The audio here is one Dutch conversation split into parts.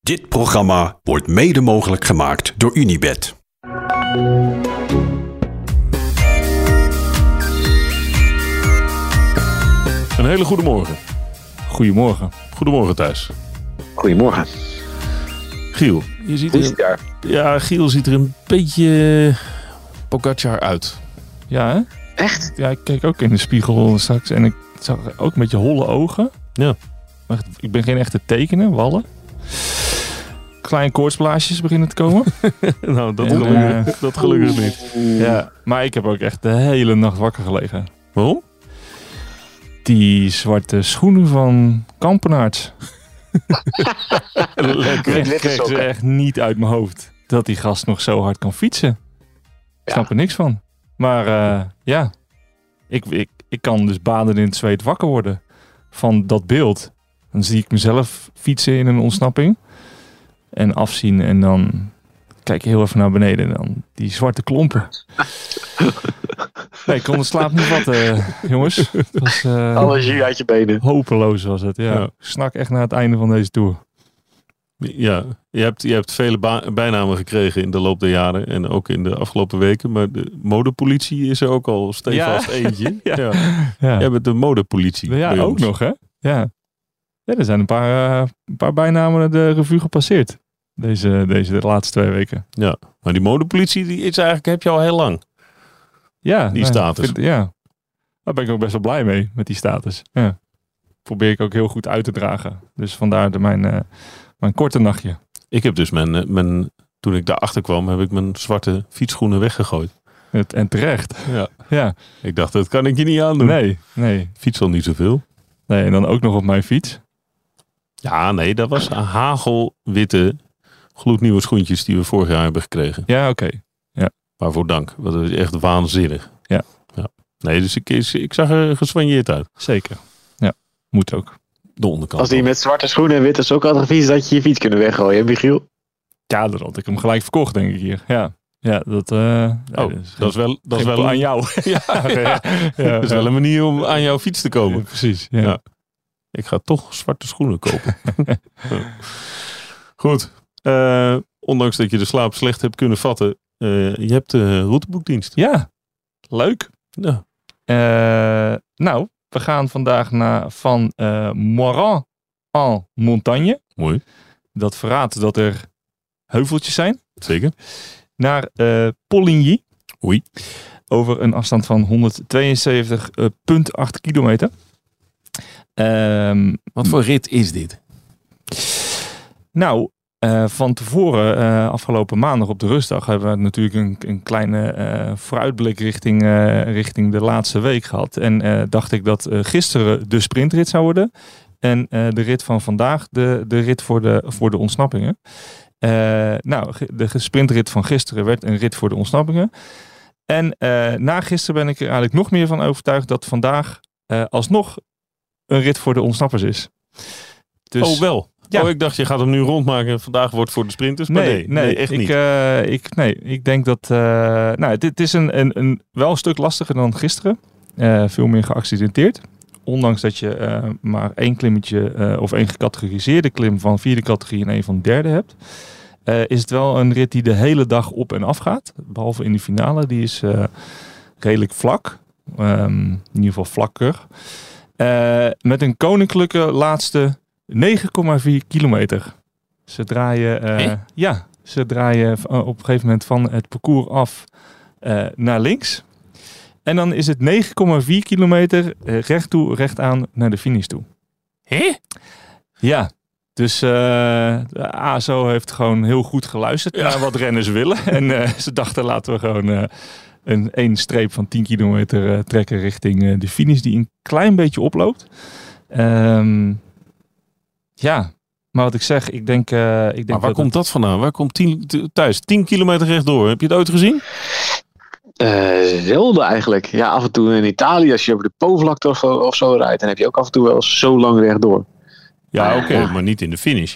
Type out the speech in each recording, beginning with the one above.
Dit programma wordt mede mogelijk gemaakt door Unibed. Een hele goede morgen. Goedemorgen. Goedemorgen Thijs. Goedemorgen. Giel, je ziet Hoe is er, het daar? ja, Giel ziet er een beetje Pogacar uit. Ja, hè? Echt? ja, ik keek ook in de spiegel straks en ik zag ook met je holle ogen. Ja. Maar ik ben geen echte tekenen, wallen. Kleine koortsblaasjes beginnen te komen. nou, dat, En, eh, gelukkig, dat gelukkig niet. ja, maar ik heb ook echt de hele nacht wakker gelegen. Waarom? Die zwarte schoenen van Kampenaerts. Lekker. Ik Met witte kreeg ze sokken. echt niet uit mijn hoofd. Dat die gast nog zo hard kan fietsen. Ik Ja. snap er niks van. Maar eh, ja, ik, ik, ik kan dus baden in het zweet wakker worden van dat beeld. Dan zie ik mezelf fietsen in een ontsnapping. En afzien en dan kijk ik heel even naar beneden. En dan die zwarte klompen. Nee, ik kon de slaap niet vatten, eh, jongens. Het was, eh, Alles hier uit je benen. Hopeloos was het, ja. Ja. Ik Snak echt naar het einde van deze tour. Ja, je hebt, je hebt vele ba- bijnamen gekregen in de loop der jaren en ook in de afgelopen weken. Maar de modepolitie is er ook al stevast eentje. Ja. Ja. Ja, Jij bent de modepolitie. ja bij ook ons. nog, hè? Ja. ja er zijn een paar, eh, een paar bijnamen de revue gepasseerd. Deze, deze de laatste twee weken. Maar die modepolitie die is eigenlijk, heb je al heel lang. Ja, Die status. ik vind- ja. Daar ben ik ook best wel blij mee, met die status. Ja. Probeer ik ook heel goed uit te dragen. Dus vandaar de, mijn, eh, mijn korte nachtje. Ik heb dus mijn, eh, mijn, toen ik daarachter kwam, heb ik mijn zwarte fietsschoenen weggegooid. Het, en terecht. Ja. Ja. Ik dacht, dat kan ik je niet aandoen. Nee, nee. Fiets al niet zoveel. Nee, en dan ook nog op mijn fiets. Ja, nee, dat was hagelwitte, gloednieuwe schoentjes die we vorig jaar hebben gekregen. Ja, oké. Waarvoor dank. want Dat is echt waanzinnig. Ja. ja. Nee, dus ik, ik zag er geswanjeerd uit. Zeker. Ja, moet ook. De onderkant. Als die met zwarte schoenen en witte sokken had gefietst, had je je fiets kunnen weggooien, hè, Michiel? Ja, dan had ik hem gelijk verkocht, denk ik hier. Ja, ja dat, eh Oh, dat is wel, dat is wel, aan een, jou. ja, ja, dat is wel een manier om aan jouw fiets te komen. precies. Ja. Ja. Ik ga toch zwarte schoenen kopen. Ja. Goed. Eh, ondanks dat je de slaap slecht hebt kunnen vatten. eh, je hebt de routeboekdienst. Ja, leuk. Ja. Eh, nou, we gaan vandaag naar van eh Moran en Montagne. Mooi. Dat verraadt dat er heuveltjes zijn. Zeker. Naar eh Poligny. Oei. Over een afstand van 172,8 kilometer. Ehm Wat voor rit is dit? Nou, eh, van tevoren, eh, afgelopen maandag op de rustdag, hebben we natuurlijk een, een kleine eh, vooruitblik richting, eh, richting de laatste week gehad. En eh, dacht ik dat eh, gisteren de sprintrit zou worden. En eh, de rit van vandaag, de, de rit voor de, voor de ontsnappingen. Eh, nou, ge- de ge- sprintrit van gisteren werd een rit voor de ontsnappingen. En eh, na gisteren ben ik er eigenlijk nog meer van overtuigd dat vandaag eh, alsnog een rit voor de ontsnappers is. Dus, oh, wel. Ja. Oh, ik dacht je gaat hem nu rondmaken. Vandaag wordt voor de sprinters. maar nee, nee, echt ik, niet. eh, ik, nee, ik denk dat. eh, nou, dit is een, een, een, wel een stuk lastiger dan gisteren. Eh, veel meer geaccidenteerd. Ondanks dat je eh, maar één klimmetje eh, of één gecategoriseerde klim van vierde categorie en één van derde hebt. eh, is het wel een rit die de hele dag op en af gaat. Behalve in de finale, die is eh, redelijk vlak. Ehm, in ieder geval vlakker. Eh, met een koninklijke laatste 9,4 kilometer. Ze draaien, eh, Hé? ja, ze draaien v- op een gegeven moment van het parcours af eh, naar links. En dan is het 9,4 kilometer eh, recht toe, recht aan naar de finish toe. Hé? Ja, dus eh, de ASO heeft gewoon heel goed geluisterd naar wat renners willen. En eh, ze dachten laten we gewoon eh, een één streep van 10 kilometer eh, trekken richting eh, de finish die een klein beetje oploopt. Ehm, ja, maar wat ik zeg, ik denk... eh, ik denk Maar waar dat komt dat vandaan? Waar komt tien, t- thuis? 10 kilometer rechtdoor. Heb je het ooit gezien? Eh, zelden eigenlijk. Ja, af en toe in Italië, als je over de Po-vlakte of, of zo rijdt, dan heb je ook af en toe wel eens zo lang rechtdoor. Ja, Ah, oké, ja. maar niet in de finish.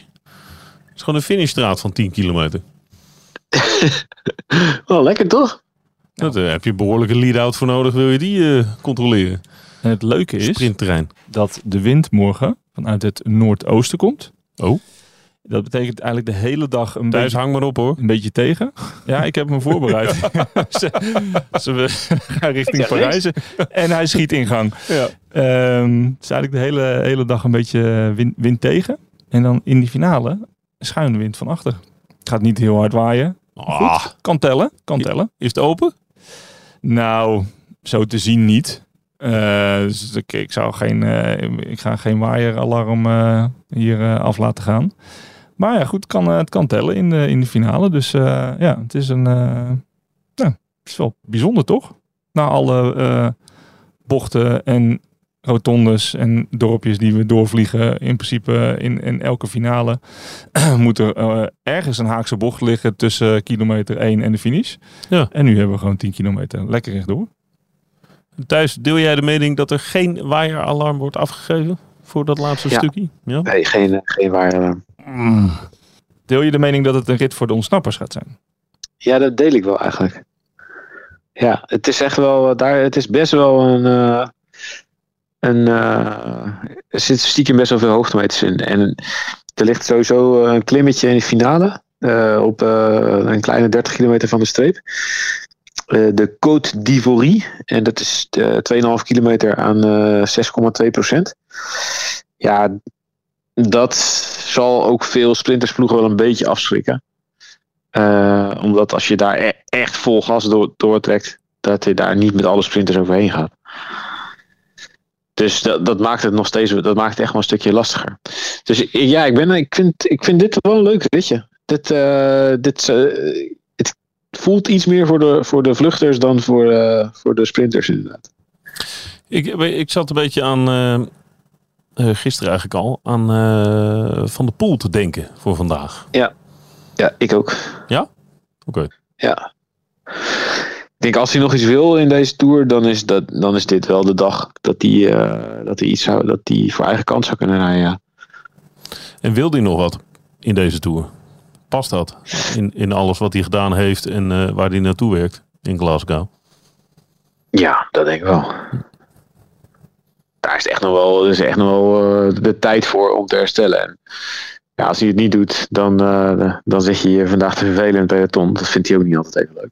Het is gewoon een finishstraat van 10 kilometer. Wel lekker toch? Dat, eh, heb je behoorlijke lead-out voor nodig, wil je die eh, controleren? En het leuke is Sprintterrein. dat de wind morgen vanuit het noordoosten komt. Oh. Dat betekent eigenlijk de hele dag een Thuis beetje, hang maar op hoor. een beetje tegen. Ja, ik heb me voorbereid. ze, ze we gaan richting Ik zeg Parijs. En hij schiet ingang. Ja. Ehm, het is eigenlijk de hele, hele dag een beetje eh, wind, wind tegen. En dan in die finale schuine wind van achter. Het gaat niet heel hard waaien. Ah, Kan tellen, kan tellen. is het open? Nou, zo te zien niet. Eh, dus ik, ik zou geen, eh, ik ga geen waaieralarm eh, hier eh, af laten gaan. Maar ja, goed, het kan, eh, het kan tellen in de, in de finale. Dus eh, ja, het is een, eh, nou, het is wel bijzonder toch? Na alle eh, bochten en rotondes en dorpjes die we doorvliegen. In principe eh, in, in elke finale moet er eh, ergens een haakse bocht liggen tussen kilometer 1 en de finish. Ja. En nu hebben we gewoon 10 kilometer lekker rechtdoor. Thuis, deel jij de mening dat er geen waaieralarm wordt afgegeven voor dat laatste Ja. stukje? Ja. Nee, geen, eh, geen waar. Deel je de mening dat het een rit voor de ontsnappers gaat zijn? Ja, dat deel ik wel eigenlijk. Ja, het is echt wel, eh, daar, het is best wel een, eh, een eh, er zit stiekem best wel veel hoogtemeters in. En er ligt sowieso eh, een klimmetje in de finale, eh, op eh, een kleine 30 kilometer van de streep. Eh, de Côte d'Ivory, en dat is eh 2,5 kilometer aan eh, 6,2 procent. Ja, dat zal ook veel sprintersploegen wel een beetje afschrikken. Eh, omdat als je daar e- echt vol gas door, doortrekt, dat je daar niet met alle sprinters overheen gaat. Dus dat, dat maakt het nog steeds, dat maakt het echt wel een stukje lastiger. Dus ik- ja, ik, ben, ik, vind, ik vind dit wel een leuk ritje. Dit, eh, dit, eh, het voelt iets meer voor de, voor de vluchters dan voor, eh, voor de sprinters inderdaad. Ik, ik zat een beetje aan, eh, eh, gisteren eigenlijk al, aan eh, Van de Poel te denken voor vandaag. Ja, ik ook. Ja? Oké. Ja. Ik denk als hij nog iets wil in deze tour, dan is, dat, dan is dit wel de dag dat hij, eh, dat hij iets zou, dat hij voor eigen kant zou kunnen rijden. Ja. En wilde hij nog wat in deze Tour? Past dat in, in alles wat hij gedaan heeft en eh, waar hij naartoe werkt in Glasgow? Ja, dat denk ik wel. Daar is echt nog wel, is echt nog wel eh, de tijd voor om te herstellen. En ja, als hij het niet doet, dan, eh, dan zit je hier vandaag te vervelen in het peloton. Dat vindt hij ook niet altijd even leuk.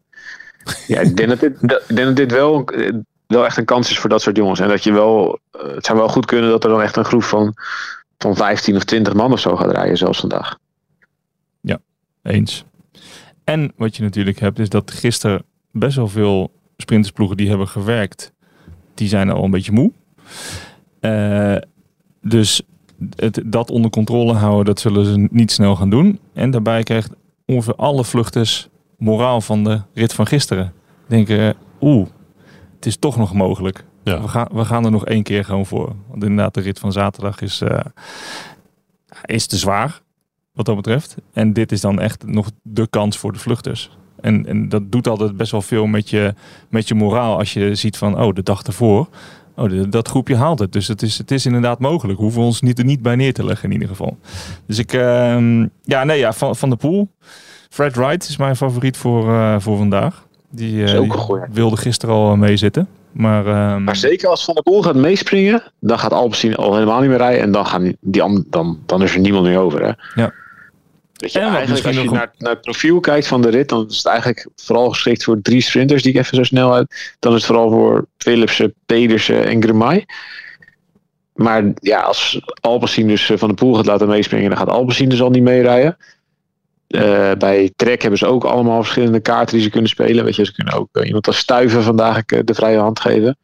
Ja, ik denk dat dit, dat- ik denk dat dit wel, eh, wel echt een kans is voor dat soort jongens. En dat je wel, eh, het zou wel goed kunnen dat er dan echt een groep van, van 15 of 20 man of zo gaat rijden, zelfs vandaag. Eens. En wat je natuurlijk hebt, is dat gisteren best wel veel sprintersploegen die hebben gewerkt, die zijn al een beetje moe. Eh, dus het, dat onder controle houden, dat zullen ze niet snel gaan doen. En daarbij krijgt ongeveer alle vluchters moraal van de rit van gisteren. Denken, eh, oeh, het is toch nog mogelijk. Ja. We, gaan, we gaan er nog één keer gewoon voor. Want inderdaad, de rit van zaterdag is, eh, is te zwaar wat dat betreft. En dit is dan echt nog de kans voor de vluchters. En, en dat doet altijd best wel veel met je, met je moraal als je ziet van, oh, de dag ervoor, oh, de- dat groepje haalt het. Dus het is, het is inderdaad mogelijk. We hoeven ons niet, er niet bij neer te leggen in ieder geval. Dus ik, ehm, ja, nee, ja, van, van de pool. Fred Wright is mijn favoriet voor, eh, voor vandaag. Die, eh, is ook die een goeie. wilde gisteren al eh, meezitten. Maar, ehm, Maar zeker als Van der Poel gaat meespringen, dan gaat Alpecin al helemaal niet meer rijden. En dan, gaan die, an- dan, dan is er niemand meer over. Hè? Ja. Weet je, En wat eigenlijk als je misschien nog- naar, naar het profiel kijkt van de rit, dan is het eigenlijk vooral geschikt voor drie sprinters die ik even zo snel uit. Dan is het vooral voor Philipsen, Pedersen en Gremai. Maar ja, als Alpecin dus eh, Van der Poel gaat laten meespringen, dan gaat Alpecin dus al niet meerijden. Eh, bij Trek hebben ze ook allemaal verschillende kaarten die ze kunnen spelen. Weet je, ze kunnen ook eh, iemand als Stuiven vandaag eh, de vrije hand geven.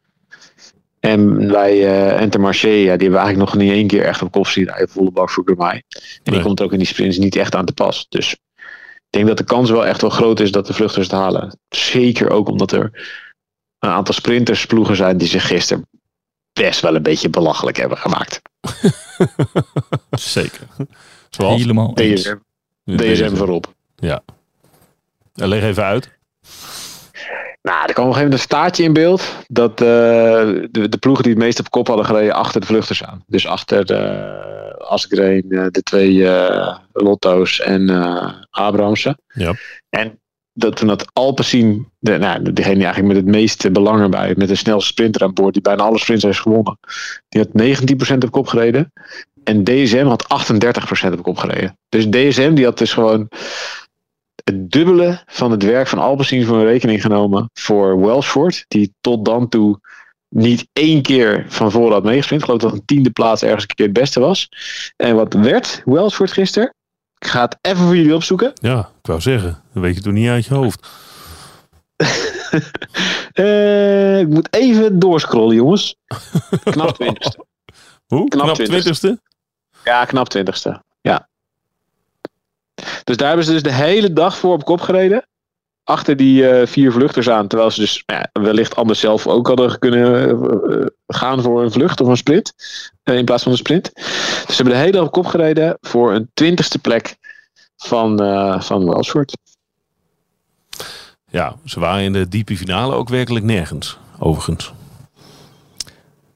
En bij eh Intermarché, ja, die hebben we eigenlijk nog niet één keer echt op kop zien rijden. Volle bak voor Gourmay. En Nee. die komt ook in die sprints niet echt aan te pas. Dus ik denk dat de kans wel echt wel groot is dat de vluchters het halen. Zeker ook omdat er een aantal sprintersploegen zijn die zich gisteren best wel een beetje belachelijk hebben gemaakt. Zeker. Zoals? helemaal eens. DSM, DSM voorop. Eh, Leg even uit. Nou, er kwam op een gegeven moment een staartje in beeld. Dat eh, de, de ploegen die het meest op kop hadden gereden achter de vluchters aan. Dus achter eh Asgreen, eh, de twee eh, Lotto's en eh Abramsen. Ja. En dat toen dat Alpecin, de, nou, degene die eigenlijk met het meeste belang erbij, met de snelste sprinter aan boord, die bijna alle sprints heeft gewonnen. Die had 19% op kop gereden. En DSM had 38% heb ik opgereden. Dus DSM die had dus gewoon het dubbele van het werk van Alpecin voor een rekening genomen voor Welsford. Die tot dan toe niet één keer van voren had meegesprint. Ik geloof dat een tiende plaats ergens een keer het beste was. En wat werd Welsford gisteren? Ik ga het even voor jullie opzoeken. Ja, ik wou zeggen. Dat weet je toch niet uit je hoofd. Eh, ik moet even doorscrollen, jongens. Knap twintigste. Hoe? Knap Knap twintigste. twintigste? Ja, knap twintigste. Ja. Dus daar hebben ze dus de hele dag voor op kop gereden. Achter die eh, vier vluchters aan. Terwijl ze dus nou ja, wellicht anders zelf ook hadden kunnen eh, eh, gaan voor een vlucht of een sprint. eh, in plaats van een sprint. Dus ze hebben de hele dag op kop gereden voor een twintigste plek van, eh van Welsford. Ja, ze waren in de diepe finale ook werkelijk nergens. Overigens.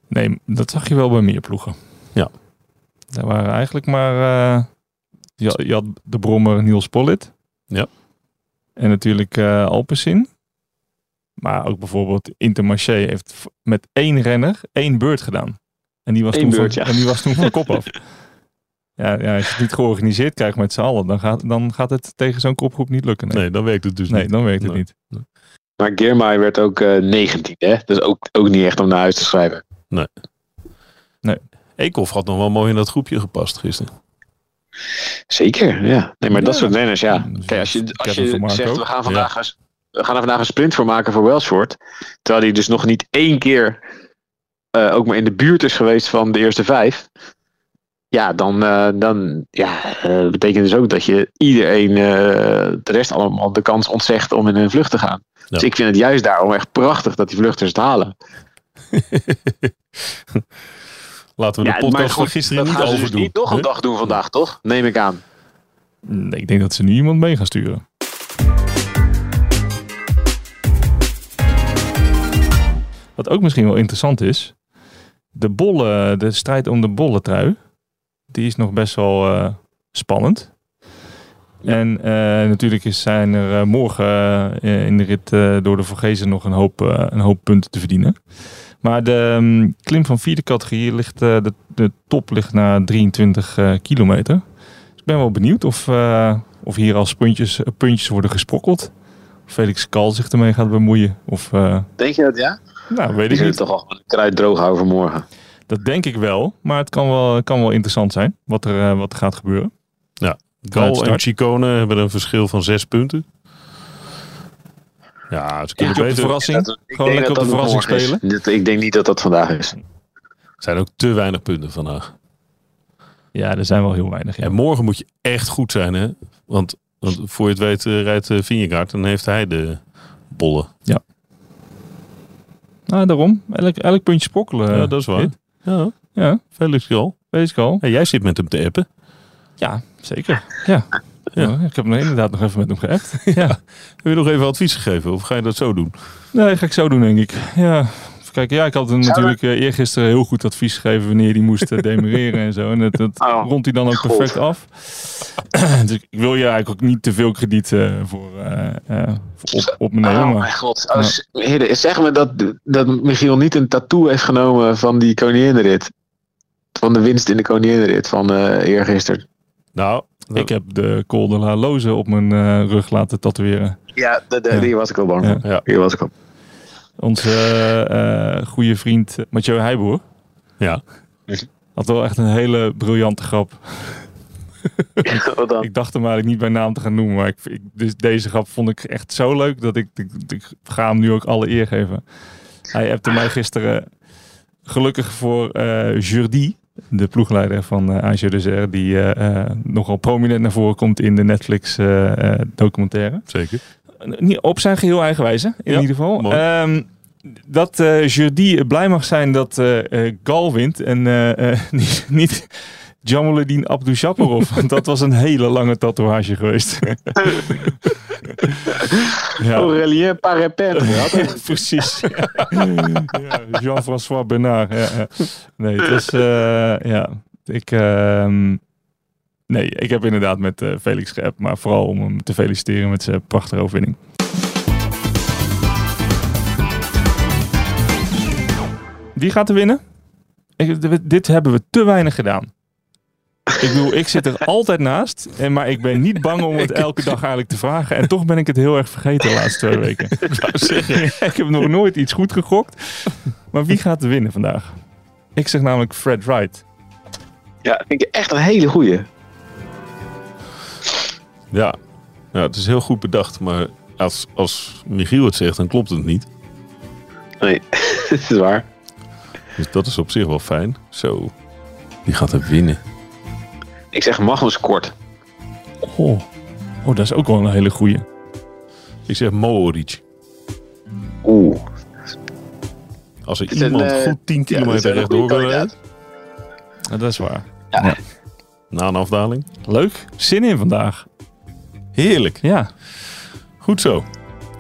Nee, dat zag je wel bij meer ploegen. Ja. Daar waren eigenlijk maar... eh, je, had- je had de brommer Niels Pollitt. Ja. En natuurlijk eh Alpecin. Maar ook bijvoorbeeld Intermarché heeft v- met één renner één beurt gedaan. En die was, Eén toen, beurt, van, ja. en die was toen van kop af. Ja, ja, als je het niet georganiseerd krijgt met z'n allen, dan gaat, dan gaat het tegen zo'n kopgroep niet lukken. Nee, Nee, dan werkt het dus nee niet. dan werkt het Nee. niet. Maar Girmay werd ook eh 19, hè? Dus ook, ook niet echt om naar huis te schrijven. Eekhoff had nog wel mooi in dat groepje gepast gisteren. Zeker, ja. Nee, maar dat Ja. soort renners, ja. Dus Kijk, als je, als Kevin je Vermaak zegt, ook. we gaan, vandaag eens- we gaan er vandaag een sprint voor maken voor Welsford. Terwijl hij dus nog niet één keer eh, ook maar in de buurt is geweest van de eerste vijf. Ja, dan, eh, dan ja, eh, betekent dus ook dat je iedereen, eh, de rest allemaal, de kans ontzegt om in een vlucht te gaan. Dus ik vind het juist daarom echt prachtig dat die vluchters het halen. Laten we de maar podcast goed, van gisteren dat niet gaan ze dus overdoen. niet nog een hè? dag doen vandaag, toch? Neem ik aan. Nee, ik denk dat ze nu iemand mee gaan sturen. Wat ook misschien wel interessant is. De bollen, de strijd om de bollentrui. Die is nog best wel eh, spannend. En eh, natuurlijk is, zijn er eh, morgen eh, in de rit eh, door de Vorgezen nog een hoop, eh, een hoop punten te verdienen. Maar de mm, klim van vierde categorie ligt, eh, de, de top ligt na 23 eh, kilometer. Ik ben wel benieuwd of, eh, of hier als puntjes, eh, puntjes worden gesprokkeld. Of Felix Kal zich ermee gaat bemoeien. Of, eh, Denk je dat, ja? nou, weet Die ik zullen niet. toch al een kruid droog houden voor morgen. Dat denk ik wel. Maar het kan wel, kan wel interessant zijn wat er, eh, wat er gaat gebeuren. Vanuit Gal en start. Chicone hebben een verschil van zes punten. Ja, ze kunnen Op de beter. verrassing. Dat- ik Gewoon denk lekker op dat de dat verrassing morgen is. spelen. Dat- ik denk niet dat dat vandaag is. Er zijn ook te weinig punten vandaag. Ja, er zijn wel heel weinig. Ja. En morgen moet je echt goed zijn, hè? Want, want voor je het weet eh, rijdt eh, Vingegaard en heeft hij de bollen. Nou, daarom. Elk, elk puntje sprokkelen. ja, dat is waar. Dit. Ja, Ja, Felix Gal. weet ik al. Ja, jij zit met hem te appen. Ja, zeker. Ja. Ja. Ja, ik heb hem inderdaad nog even met hem geappt. Heb je nog even advies gegeven of ga je dat zo doen? Nee, ga ik zo doen, denk ik. Ja, even kijken. Ja, ik had hem natuurlijk eh, eergisteren heel goed advies gegeven wanneer hij moest eh, demereren en zo. En dat, dat Oh, rondt hij dan ook God. perfect af. dus ik wil je eigenlijk ook niet te veel krediet eh, voor, eh, eh, voor op, op me nemen. oh maar mijn god. Oh, s- heren, zeg me dat, dat Michiel niet een tattoo heeft genomen van die koninginrit. Van de winst in de koninginrit van eh eergisteren. Nou, ik heb de Col de la Loze op mijn eh, rug laten tatoeëren. Ja, de, de, Ja. hier was ik al bang voor. Ja. Hier was ik al. Onze eh, eh, goede vriend Mathieu Heijboer ja. had wel echt een hele briljante grap. Wat dan? Ik dacht hem eigenlijk niet bij naam te gaan noemen. Maar ik, ik, dus deze grap vond ik echt zo leuk dat ik, ik, ik ga hem nu ook alle eer geven. Hij appte mij gisteren gelukkig voor eh Jordi, de ploegleider van eh AG de Serre, die eh, eh, nogal prominent naar voren komt in de Netflix eh, eh, documentaire. zeker. Niet op zijn geheel eigen wijze, in Ja, ieder geval. mooi. Ehm, dat eh Jordi blij mag zijn dat eh, eh, Gal wint en eh, eh, niet, niet Jamaluddin Abdushaparov. want dat was een hele lange tatoeage geweest. Oh, ja, Aurelien Parapet. precies. ja, Jean-François Bernard. Ja, ja. Nee, het was... eh, ja, ik... ehm, nee, ik heb inderdaad met eh, Felix geappt, maar vooral om hem te feliciteren met zijn prachtige overwinning. Wie gaat er winnen? Ik, d- dit hebben we te weinig gedaan. Ik bedoel, ik zit er altijd naast. En, maar ik ben niet bang om het elke dag eigenlijk te vragen. En toch ben ik het heel erg vergeten de laatste twee weken. ik heb nog nooit iets goed gegokt. Maar wie gaat er winnen vandaag? Ik zeg namelijk Fred Wright. Ja, vind ik echt een hele goeie. Ja. ja, het is heel goed bedacht, maar als, als Michiel het zegt, dan klopt het niet. Nee, dat is waar. Dus dat is op zich wel fijn. Zo, die gaat er winnen. Ik zeg Magnus Kort. Oh, oh dat is ook wel een hele goeie. Ik zeg Mooric. Oeh. Als er is een, iemand eh, goed ja, 10 dat is kilometer een rechtdoor goede wil rijden, kandidaat. Dat is waar. na een afdaling. Leuk. Zin in vandaag. Heerlijk. Ja. Goed zo.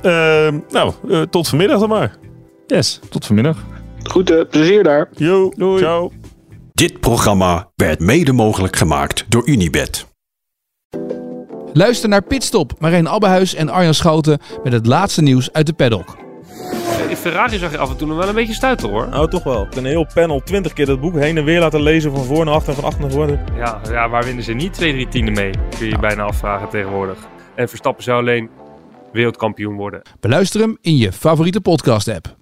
Ehm, nou, eh, tot vanmiddag dan maar. Yes. Tot vanmiddag. Goed, eh, plezier daar. Yo, Doei. ciao. Dit programma werd mede mogelijk gemaakt door Unibed. Luister naar Pitstop, Marijn Abbehuis en Arjan Schouten met het laatste nieuws uit de paddock. In Ferrari zag je af en toe nog wel een beetje stuiter hoor. Nou, toch wel. Een heel panel, 20 keer dat boek heen en weer laten lezen van voor naar achter en van achter naar voren. Ja, ja waar winnen ze niet 2, 3 tienden mee? Kun je je bijna afvragen tegenwoordig. En Verstappen zou alleen wereldkampioen worden. Beluister hem in je favoriete podcast-app.